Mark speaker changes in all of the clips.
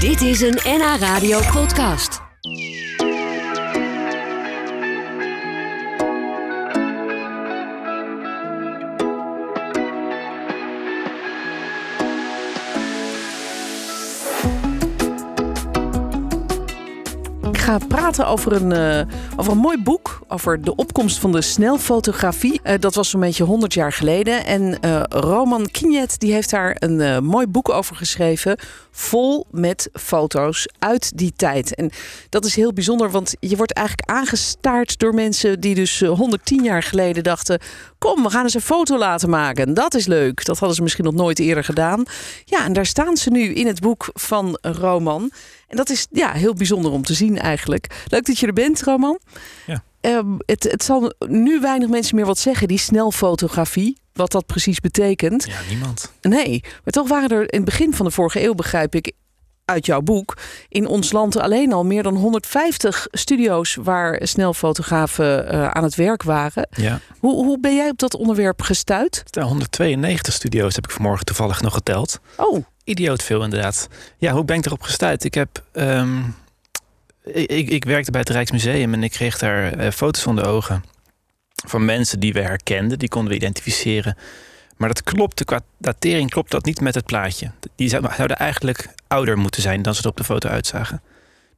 Speaker 1: Dit is een NH Radio podcast.
Speaker 2: Ik ga praten over een, eh, over een mooi boek. Over de opkomst van de snelfotografie. Eh, dat was zo'n beetje 100 jaar geleden. En eh, Roman Kienjet die heeft daar een eh, mooi boek over geschreven. Vol met foto's uit die tijd. En dat is heel bijzonder, want je wordt eigenlijk aangestaard door mensen die dus eh, 110 jaar geleden dachten: kom, we gaan eens een foto laten maken. Dat is leuk. Dat hadden ze misschien nog nooit eerder gedaan. Ja, en daar staan ze nu in het boek van Roman. En dat is ja, heel bijzonder om te zien eigenlijk. Leuk dat je er bent, Roman.
Speaker 3: Ja.
Speaker 2: Ehm, het, het zal nu weinig mensen meer wat zeggen, die snelfotografie. Wat dat precies betekent.
Speaker 3: Ja, niemand.
Speaker 2: Nee, maar toch waren er in het begin van de vorige eeuw, begrijp ik, uit jouw boek, in ons land alleen al meer dan 150 studio's waar snelfotografen eh, aan het werk waren.
Speaker 3: Ja.
Speaker 2: Hoe, hoe ben jij op dat onderwerp gestuurd?
Speaker 3: 192 studio's heb ik vanmorgen toevallig nog geteld.
Speaker 2: Oh,
Speaker 3: Idioot veel inderdaad. Ja, hoe ben ik erop gestuurd? Ik heb... ehm, ik, ik, ik werkte bij het Rijksmuseum en ik kreeg daar eh, foto's onder ogen. Van mensen die we herkenden, die konden we identificeren. Maar dat klopte, qua datering klopt dat niet met het plaatje. Die zou- zouden eigenlijk ouder moeten zijn dan ze er op de foto uitzagen.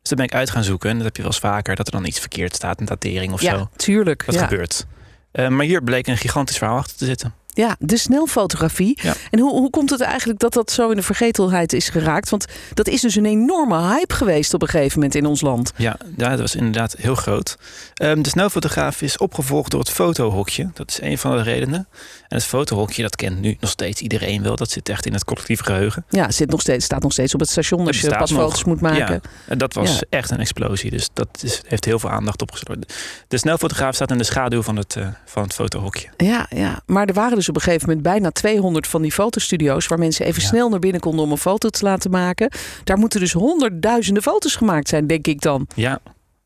Speaker 3: Dus daar ben ik uit gaan zoeken. En dat heb je wel eens vaker, dat er dan iets verkeerd staat, een datering of zo.
Speaker 2: ja, tuurlijk.
Speaker 3: Dat
Speaker 2: ja.
Speaker 3: gebeurt. Eh, maar hier bleek een gigantisch verhaal achter te zitten.
Speaker 2: Ja, de snelfotografie.
Speaker 3: Ja.
Speaker 2: En hoe, hoe komt het eigenlijk dat dat zo in de vergetelheid is geraakt? Want dat is dus een enorme hype geweest op een gegeven moment in ons land.
Speaker 3: Ja, ja, dat was inderdaad heel groot. Ehm, de snelfotograaf is opgevolgd door het fotohokje. Dat is een van de redenen. En het fotohokje, dat kent nu nog steeds iedereen wel. Dat zit echt in het collectief geheugen.
Speaker 2: Ja, zit nog steeds, staat nog steeds op het station als
Speaker 3: Het
Speaker 2: je
Speaker 3: staat
Speaker 2: pas
Speaker 3: nog.
Speaker 2: foto's moet maken.
Speaker 3: Ja, en dat was
Speaker 2: Ja.
Speaker 3: echt een explosie. Dus dat is, heeft heel veel aandacht opgesloten. De snelfotograaf staat in de schaduw van het, eh, van het fotohokje.
Speaker 2: Ja, ja, maar er waren dus op een gegeven moment bijna 200 van die fotostudio's waar mensen even
Speaker 3: Ja.
Speaker 2: snel naar binnen konden om een foto te laten maken. Daar moeten dus honderdduizenden foto's gemaakt zijn, denk ik dan.
Speaker 3: Ja,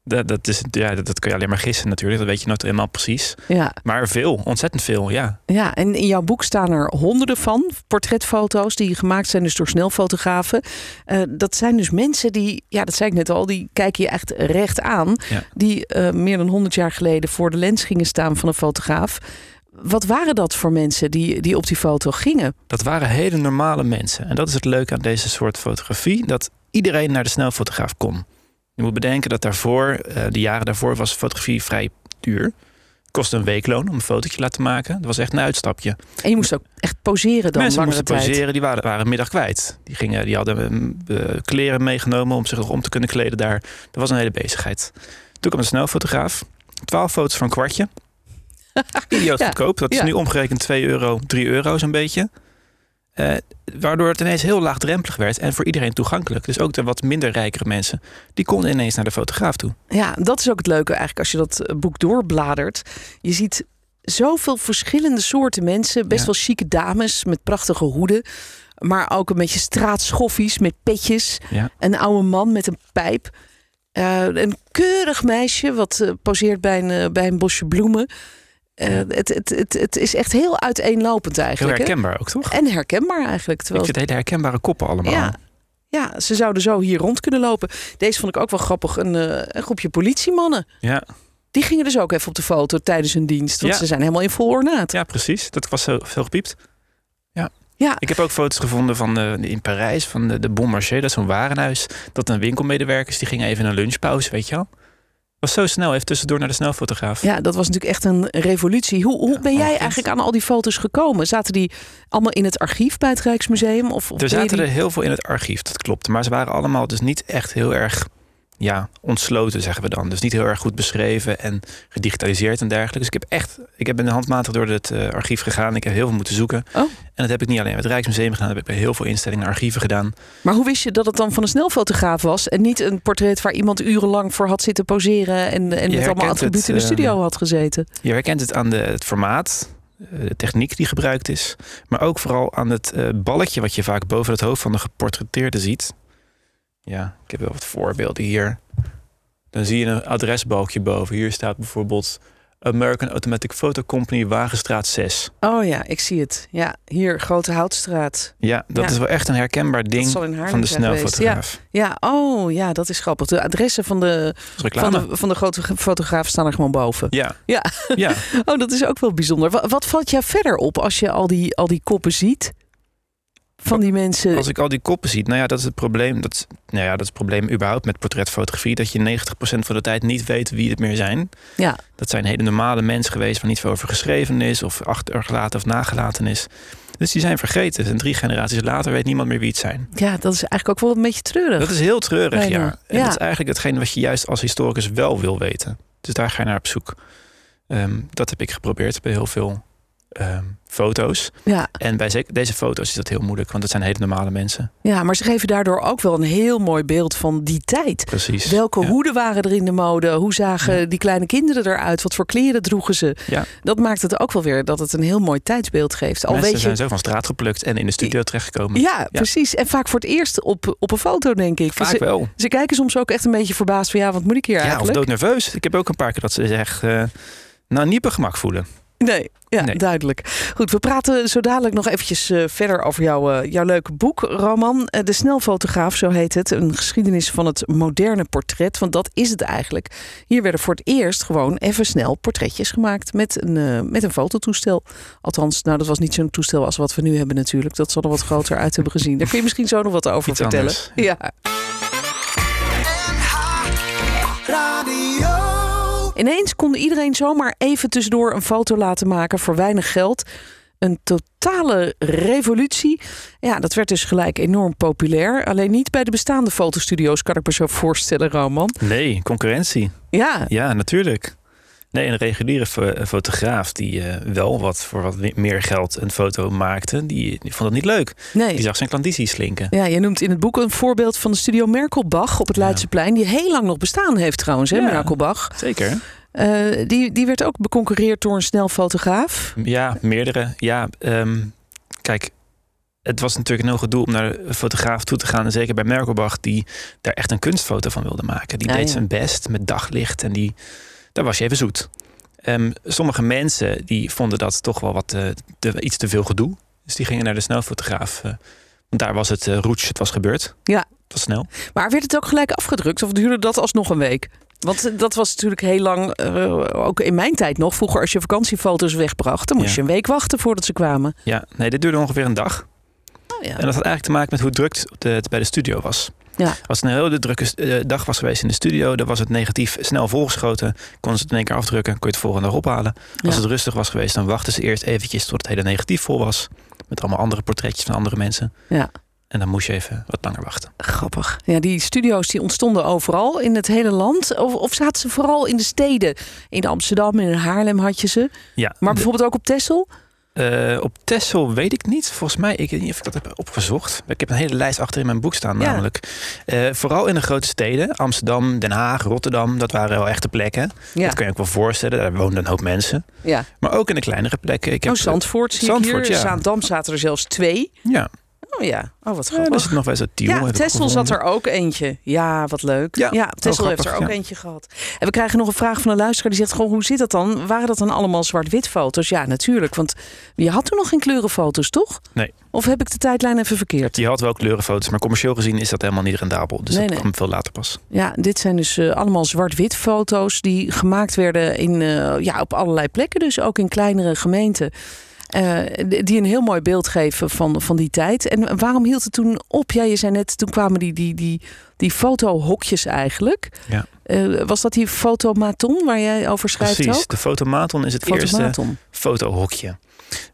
Speaker 3: dat, dat, is, ja, dat, dat kun je alleen maar gissen natuurlijk. Dat weet je nooit helemaal precies.
Speaker 2: Ja,
Speaker 3: Maar veel, ontzettend veel, ja.
Speaker 2: ja. En in jouw boek staan er honderden van, portretfoto's die gemaakt zijn dus door snelfotografen. Eh, dat zijn dus mensen die, ja, dat zei ik net al, die kijken je echt recht aan.
Speaker 3: Ja.
Speaker 2: Die eh, meer dan 100 jaar geleden voor de lens gingen staan van een fotograaf. Wat waren dat voor mensen die, die op die foto gingen?
Speaker 3: Dat waren hele normale mensen. En dat is het leuke aan deze soort fotografie: dat iedereen naar de snelfotograaf kon. Je moet bedenken dat daarvoor, eh, de jaren daarvoor, was fotografie vrij duur. Het kostte een weekloon om een fotootje te laten maken. Dat was echt een uitstapje.
Speaker 2: En je moest ook echt poseren dan
Speaker 3: Mensen
Speaker 2: langere
Speaker 3: moesten
Speaker 2: tijd.
Speaker 3: poseren, die waren, waren een middag kwijt. Die, gingen, die hadden eh, eh, kleren meegenomen om zich nog om te kunnen kleden daar. Dat was een hele bezigheid. Toen kwam de snelfotograaf. Twaalf foto's van een kwartje. Idioot
Speaker 2: Ja,
Speaker 3: goedkoop. Dat is
Speaker 2: ja.
Speaker 3: nu omgerekend 2 euro, 3 euro zo'n beetje. Eh, waardoor het ineens heel laagdrempelig werd en voor iedereen toegankelijk. Dus ook de wat minder rijkere mensen, die konden ineens naar de fotograaf toe.
Speaker 2: Ja, dat is ook het leuke eigenlijk als je dat eh, boek doorbladert. Je ziet zoveel verschillende soorten mensen. Best
Speaker 3: Ja.
Speaker 2: wel chique dames met prachtige hoeden. Maar ook een beetje straatschoffies met petjes.
Speaker 3: Ja.
Speaker 2: Een oude man met een pijp. Eh, een keurig meisje wat eh, poseert bij een, eh, bij een bosje bloemen. Eh, het, het, het, het is echt heel uiteenlopend
Speaker 3: Heel
Speaker 2: eigenlijk. hè?
Speaker 3: herkenbaar ook, toch?
Speaker 2: En herkenbaar eigenlijk.
Speaker 3: Ik
Speaker 2: Terwijl
Speaker 3: vind hele herkenbare koppen allemaal.
Speaker 2: ja. ja, ze zouden zo hier rond kunnen lopen. Deze vond ik ook wel grappig. Een, eh, een groepje politiemannen.
Speaker 3: ja.
Speaker 2: Die gingen dus ook even op de foto tijdens hun dienst. Want
Speaker 3: Ja.
Speaker 2: ze zijn helemaal in vol ornaat.
Speaker 3: ja precies. Dat was zo veel gepiept.
Speaker 2: Ja,
Speaker 3: Ik heb ook foto's gevonden van eh, in Parijs, van de, de Bon Marché, dat is zo'n warenhuis. Dat een winkelmedewerkers, die gingen even een lunchpauze, weet je wel. Was zo snel, even tussendoor naar de snelfotograaf.
Speaker 2: ja, dat was natuurlijk echt een revolutie. Hoe, hoe ben jij
Speaker 3: ongekend.
Speaker 2: eigenlijk aan al die foto's gekomen? Zaten die allemaal in het archief bij het Rijksmuseum? Of, of
Speaker 3: er
Speaker 2: ben je
Speaker 3: zaten
Speaker 2: die-
Speaker 3: er heel veel in het archief, dat klopt. Maar ze waren allemaal dus niet echt heel erg ja, ontsloten, zeggen we dan. Dus niet heel erg goed beschreven en gedigitaliseerd en dergelijke. Dus ik heb echt, ik heb ben handmatig door het eh, archief gegaan. Ik heb heel veel moeten zoeken.
Speaker 2: Oh.
Speaker 3: En dat heb ik niet alleen bij het Rijksmuseum gedaan, dat heb ik bij heel veel instellingen en archieven gedaan.
Speaker 2: Maar hoe wist je dat het dan van een snelfotograaf was? En niet een portret waar iemand urenlang voor had zitten poseren... en, en met allemaal
Speaker 3: herkent
Speaker 2: attributen
Speaker 3: het,
Speaker 2: in de
Speaker 3: eh,
Speaker 2: studio had gezeten?
Speaker 3: Je herkent het aan de, het formaat, eh, de techniek die gebruikt is, maar ook vooral aan het eh, balletje wat je vaak boven het hoofd van de geportretteerde ziet. Ja, ik heb wel wat voorbeelden hier. Dan zie je een adresbalkje boven. Hier staat bijvoorbeeld American Automatic Photo Company, Wagenstraat 6.
Speaker 2: Oh ja, ik zie het. Ja, hier, Grote Houtstraat.
Speaker 3: Ja, dat
Speaker 2: Ja.
Speaker 3: is wel echt een herkenbaar
Speaker 2: Dat
Speaker 3: ding
Speaker 2: zal in Haarlem
Speaker 3: van de
Speaker 2: zijn geweest. Ja,
Speaker 3: snelfotograaf.
Speaker 2: ja, oh ja, dat is grappig. De adressen van de,
Speaker 3: Dat is reclame.
Speaker 2: van de, van de grote fotograaf staan er gewoon boven.
Speaker 3: Ja.
Speaker 2: Ja.
Speaker 3: ja.
Speaker 2: Oh, dat is ook wel bijzonder. Wat, wat valt jou verder op als je al die, al die koppen ziet? Van die mensen.
Speaker 3: Als ik al die koppen zie, nou ja, dat is het probleem. Dat is, nou ja, dat is het probleem überhaupt met portretfotografie. Dat je 90% van de tijd niet weet wie het meer zijn.
Speaker 2: Ja.
Speaker 3: Dat zijn hele normale mensen geweest waar niet veel over geschreven is. Of achtergelaten of nagelaten is. Dus die zijn vergeten. En drie generaties later weet niemand meer wie het zijn.
Speaker 2: Ja, dat is eigenlijk ook wel een beetje treurig.
Speaker 3: Dat is heel treurig,
Speaker 2: Bijna.
Speaker 3: ja. En
Speaker 2: Ja.
Speaker 3: dat is eigenlijk hetgeen wat je juist als historicus wel wil weten. Dus daar ga je naar op zoek. Ehm, dat heb ik geprobeerd bij heel veel ehm, foto's.
Speaker 2: Ja,
Speaker 3: En bij zeker deze foto's is dat heel moeilijk, want dat zijn hele normale mensen.
Speaker 2: ja, maar ze geven daardoor ook wel een heel mooi beeld van die tijd.
Speaker 3: Precies.
Speaker 2: Welke
Speaker 3: Ja.
Speaker 2: hoeden waren er in de mode? Hoe zagen
Speaker 3: Ja.
Speaker 2: die kleine kinderen eruit? Wat voor kleren droegen ze?
Speaker 3: Ja.
Speaker 2: Dat maakt het ook wel weer dat het een heel mooi tijdsbeeld geeft. Al
Speaker 3: Mensen
Speaker 2: weet je,
Speaker 3: zijn zo van straat geplukt en in de studio terechtgekomen.
Speaker 2: ja, precies. En vaak voor het eerst op, op een foto, denk ik.
Speaker 3: Vaak
Speaker 2: ze,
Speaker 3: wel.
Speaker 2: ze kijken soms ook echt een beetje verbaasd van ja, wat moet ik hier
Speaker 3: Ja, of
Speaker 2: eigenlijk?
Speaker 3: doodnerveus. Ik heb ook een paar keer dat ze echt eh, nou niet op hun gemak voelen.
Speaker 2: Nee, ja,
Speaker 3: Nee.
Speaker 2: duidelijk. Goed, we praten zo dadelijk nog eventjes eh, verder over jouw, eh, jouw leuke boek, Roman. Eh, de Snelfotograaf, zo heet het. Een geschiedenis van het moderne portret. Want dat is het eigenlijk. Hier werden voor het eerst gewoon even snel portretjes gemaakt met een, eh, met een fototoestel. Althans, nou, dat was niet zo'n toestel als wat we nu hebben natuurlijk. Dat zal er wat groter uit hebben gezien. Daar kun je misschien zo nog wat over
Speaker 3: Iets
Speaker 2: vertellen.
Speaker 3: anders.
Speaker 2: Ja. Ineens kon iedereen zomaar even tussendoor een foto laten maken voor weinig geld. Een totale revolutie. Ja, dat werd dus gelijk enorm populair. Alleen niet bij de bestaande fotostudio's, kan ik me zo voorstellen, Roman.
Speaker 3: Nee, concurrentie.
Speaker 2: Ja,
Speaker 3: Ja, natuurlijk. Nee, een reguliere fo- eh, fotograaf die eh, wel wat voor wat we- meer geld een foto maakte, die, die vond dat niet leuk. Die
Speaker 2: nee.
Speaker 3: zag zijn klandizie slinken.
Speaker 2: Ja, je noemt in het boek een voorbeeld van de studio Merkelbach op het
Speaker 3: Ja.
Speaker 2: Leidseplein. Die heel lang nog bestaan heeft trouwens, hè,
Speaker 3: Ja.
Speaker 2: Merkelbach.
Speaker 3: Zeker.
Speaker 2: Eh, die, die werd ook beconcurreerd door een snel fotograaf.
Speaker 3: Ja, meerdere. Ja, ehm, kijk, het was natuurlijk een heel gedoe om naar een fotograaf toe te gaan. En zeker bij Merkelbach, die daar echt een kunstfoto van wilde maken. Die
Speaker 2: Ah,
Speaker 3: deed
Speaker 2: ja.
Speaker 3: zijn best met daglicht en die, daar was je even zoet. Ehm, sommige mensen die vonden dat toch wel wat, eh, te- iets te veel gedoe. Dus die gingen naar de snelfotograaf. eh, want daar was het eh roetje, het was gebeurd.
Speaker 2: Ja.
Speaker 3: Het was snel.
Speaker 2: Maar werd het ook gelijk afgedrukt of duurde dat alsnog een week? Want eh, dat was natuurlijk heel lang, eh, ook in mijn tijd nog. Vroeger als je vakantiefoto's wegbracht, dan moest
Speaker 3: Ja.
Speaker 2: je een week wachten voordat ze kwamen.
Speaker 3: Ja, nee, dit duurde ongeveer een dag.
Speaker 2: Oh, ja.
Speaker 3: En dat had eigenlijk te maken met hoe druk het op de- het bij de studio was.
Speaker 2: Ja.
Speaker 3: Als het een hele drukke eh, dag was geweest in de studio, dan was het negatief snel volgeschoten. Konden ze het in één keer afdrukken, kon je het volgende dag ophalen. Als
Speaker 2: Ja.
Speaker 3: het rustig was geweest, dan wachten ze eerst eventjes tot het hele negatief vol was. Met allemaal andere portretjes van andere mensen.
Speaker 2: Ja.
Speaker 3: En dan moest je even wat langer wachten.
Speaker 2: Grappig. Ja, die studio's die ontstonden overal in het hele land. Of, of zaten ze vooral in de steden? In Amsterdam, in Haarlem had je ze.
Speaker 3: Ja,
Speaker 2: Maar
Speaker 3: de-
Speaker 2: bijvoorbeeld ook op Texel?
Speaker 3: eh, op Texel weet ik niet. Volgens mij, ik weet niet of ik dat heb opgezocht. Ik heb een hele lijst achter in mijn boek staan
Speaker 2: Ja.
Speaker 3: namelijk. Eh, vooral in de grote steden. Amsterdam, Den Haag, Rotterdam. Dat waren wel echte plekken.
Speaker 2: Ja.
Speaker 3: Dat kan je ook wel voorstellen. Daar woonden een hoop mensen.
Speaker 2: ja.
Speaker 3: Maar ook in de kleinere plekken. Ik heb,
Speaker 2: Oh, Zandvoort zie
Speaker 3: Zandvoort,
Speaker 2: ik hier.
Speaker 3: ja.
Speaker 2: Zaandam zaten er zelfs twee.
Speaker 3: Ja,
Speaker 2: Oh ja, oh wat
Speaker 3: ja er
Speaker 2: grappig.
Speaker 3: zit nog wel eens een tiel.
Speaker 2: ja, Tessel zat er ook eentje. Ja, wat leuk. Ja,
Speaker 3: Ja,
Speaker 2: Tessel
Speaker 3: wel
Speaker 2: heeft er
Speaker 3: grappig,
Speaker 2: ook
Speaker 3: ja.
Speaker 2: eentje gehad. En we krijgen nog een vraag van een luisteraar. Die zegt gewoon, hoe zit dat dan? Waren dat dan allemaal zwart-wit foto's? Ja, natuurlijk. Want je had toen nog geen kleurenfoto's, toch?
Speaker 3: Nee.
Speaker 2: Of heb ik de tijdlijn even verkeerd?
Speaker 3: Die had wel kleurenfoto's, maar commercieel gezien is dat helemaal niet rendabel. Dus
Speaker 2: Nee,
Speaker 3: dat
Speaker 2: nee.
Speaker 3: kwam veel later pas.
Speaker 2: Ja, dit zijn dus eh, allemaal zwart-wit foto's die gemaakt werden in, eh, ja, op allerlei plekken, dus ook in kleinere gemeenten. eh, d- die een heel mooi beeld geven van, van die tijd. En waarom hield het toen op? Ja, je zei net, toen kwamen die, die, die, die fotohokjes eigenlijk.
Speaker 3: Ja.
Speaker 2: Eh, was dat die fotomaton waar jij over schrijft
Speaker 3: Precies,
Speaker 2: ook?
Speaker 3: de fotomaton is het eerste
Speaker 2: Fotomaton.
Speaker 3: fotohokje.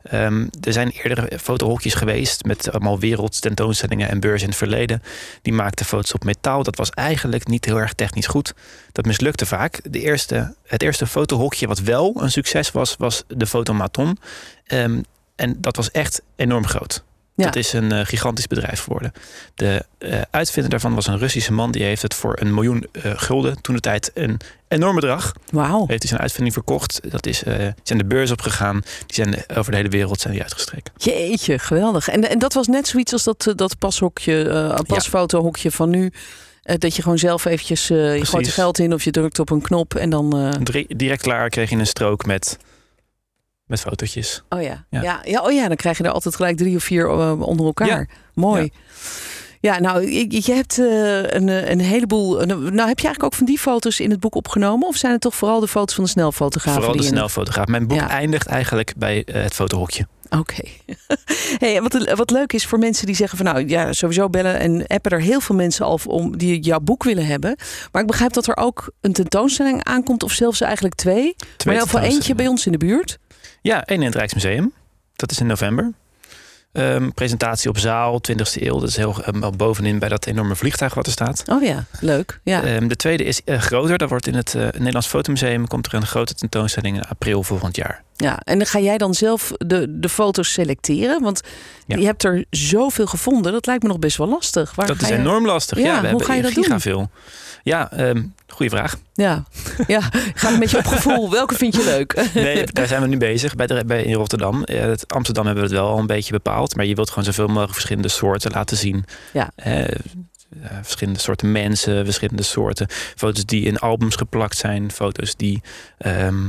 Speaker 3: Ehm, er zijn eerder fotohokjes geweest met allemaal wereldtentoonstellingen en beurzen in het verleden. Die maakten foto's op metaal. Dat was eigenlijk niet heel erg technisch goed. Dat mislukte vaak. De eerste, het eerste fotohokje wat wel een succes was, was de fotomaton. Ehm, en dat was echt enorm groot.
Speaker 2: Ja.
Speaker 3: Dat is een eh, gigantisch bedrijf geworden. De eh, uitvinder daarvan was een Russische man. Die heeft het voor een miljoen eh, gulden, toen de tijd een enorm bedrag,
Speaker 2: Wauw.
Speaker 3: heeft hij zijn uitvinding verkocht. Dat is, eh, zijn de beurs opgegaan. Die zijn eh, over de hele wereld zijn die uitgestrekt.
Speaker 2: Jeetje, geweldig. En, en dat was net zoiets als dat, eh, dat pashokje, eh pasfotohokje van nu. eh, dat je gewoon zelf eventjes, eh, je gooit er
Speaker 3: Precies.
Speaker 2: geld in of je drukt op een knop en dan... eh,
Speaker 3: Drie- direct klaar kreeg je een strook met, met fotootjes.
Speaker 2: Oh ja. Ja.
Speaker 3: Ja.
Speaker 2: Ja, oh ja, dan krijg je er altijd gelijk drie of vier eh, onder elkaar.
Speaker 3: Ja.
Speaker 2: Mooi. Ja. nou, je, je hebt eh, een, eh, een heleboel. een- nou, heb je eigenlijk ook van die foto's in het boek opgenomen? Of zijn het toch vooral de foto's van de snelfotografen?
Speaker 3: Vooral de
Speaker 2: die in het-
Speaker 3: snelfotograaf. Mijn boek
Speaker 2: Ja.
Speaker 3: eindigt eigenlijk bij eh, het fotohokje.
Speaker 2: Oké. hey, en wat, wat leuk is voor mensen die zeggen van nou ja, sowieso bellen en appen er heel veel mensen al om die jouw boek willen hebben. Maar ik begrijp dat er ook een tentoonstelling aankomt, of zelfs eigenlijk twee. maar in
Speaker 3: Twee
Speaker 2: ieder geval eentje
Speaker 3: tentoonstellingen.
Speaker 2: bij ons in de buurt.
Speaker 3: Ja, één in het Rijksmuseum. Dat is in november. Ehm, presentatie op zaal, 20e eeuw. Dat is heel ehm, wel bovenin bij dat enorme vliegtuig wat er staat.
Speaker 2: Oh ja, leuk. Ja.
Speaker 3: Ehm, de tweede is eh, groter. Dat wordt in het eh, Nederlands Fotomuseum. Komt er een grote tentoonstelling in april volgend jaar.
Speaker 2: Ja, en dan ga jij dan zelf de, de foto's selecteren? Want
Speaker 3: Ja.
Speaker 2: je hebt er zoveel gevonden, dat lijkt me nog best wel lastig. Waar
Speaker 3: dat
Speaker 2: ga
Speaker 3: is
Speaker 2: je-
Speaker 3: enorm lastig.
Speaker 2: Ja,
Speaker 3: Ja,
Speaker 2: hoe
Speaker 3: we hebben
Speaker 2: ga je dat
Speaker 3: giga
Speaker 2: doen?
Speaker 3: veel. Ja, ehm goede vraag.
Speaker 2: Ja, ja. ga een beetje op gevoel. Welke vind je leuk?
Speaker 3: Nee, daar zijn we nu bezig bij de, bij, in Rotterdam. Eh, het Amsterdam hebben we het wel al een beetje bepaald. Maar je wilt gewoon zoveel mogelijk verschillende soorten laten zien.
Speaker 2: Ja.
Speaker 3: Eh, eh, verschillende soorten mensen, verschillende soorten foto's die in albums geplakt zijn. Foto's die ehm,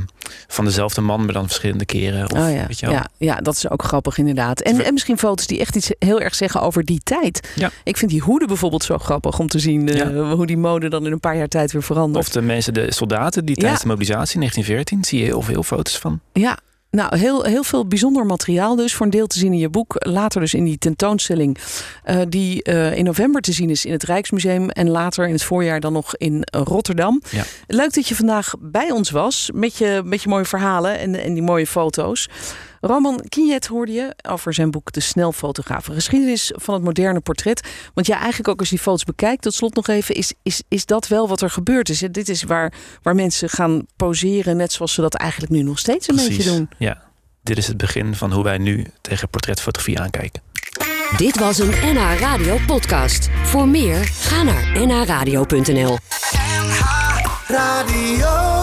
Speaker 3: van dezelfde man, maar dan verschillende keren. Of,
Speaker 2: Oh ja.
Speaker 3: weet je wel.
Speaker 2: ja, ja, dat is ook grappig inderdaad. En,
Speaker 3: Ver-
Speaker 2: en misschien foto's die echt iets heel erg zeggen over die tijd.
Speaker 3: Ja.
Speaker 2: Ik vind die hoeden bijvoorbeeld zo grappig om te zien eh, hoe die mode dan in een paar jaar tijd weer verandert.
Speaker 3: Of de mensen, de soldaten die
Speaker 2: Ja.
Speaker 3: tijdens de mobilisatie in 1914, zie je heel veel foto's van.
Speaker 2: Ja, nou, heel, heel veel bijzonder materiaal dus. Voor een deel te zien in je boek. Later dus in die tentoonstelling. eh, die eh, in november te zien is in het Rijksmuseum. En later in het voorjaar dan nog in eh, Rotterdam.
Speaker 3: Ja.
Speaker 2: Leuk dat je vandaag bij ons was. Met je, met je mooie verhalen en, en die mooie foto's. Roman Kijet hoorde je over zijn boek De Snelfotograaf. Een geschiedenis van het moderne portret. Want ja, eigenlijk ook als je die foto's bekijkt, tot slot nog even, is, is, is dat wel wat er gebeurd is. hè? Dit is waar, waar mensen gaan poseren, net zoals ze dat eigenlijk nu nog steeds een beetje doen.
Speaker 3: Ja. Dit is het begin van hoe wij nu tegen portretfotografie aankijken.
Speaker 1: Dit was een NH Radio podcast. Voor meer, ga naar nhradio.nl.
Speaker 4: Radio.